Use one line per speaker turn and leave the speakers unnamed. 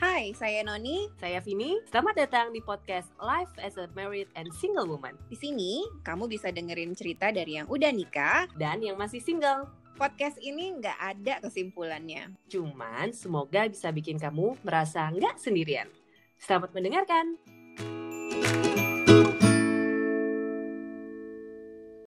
Hai, saya Noni.
Saya Vini. Selamat datang di podcast Life as a Married and Single Woman
Di sini, kamu bisa dengerin cerita dari yang udah nikah.
dan yang masih single.
Podcast ini nggak ada kesimpulannya.
Cuman semoga bisa bikin kamu merasa nggak sendirian. Selamat mendengarkan.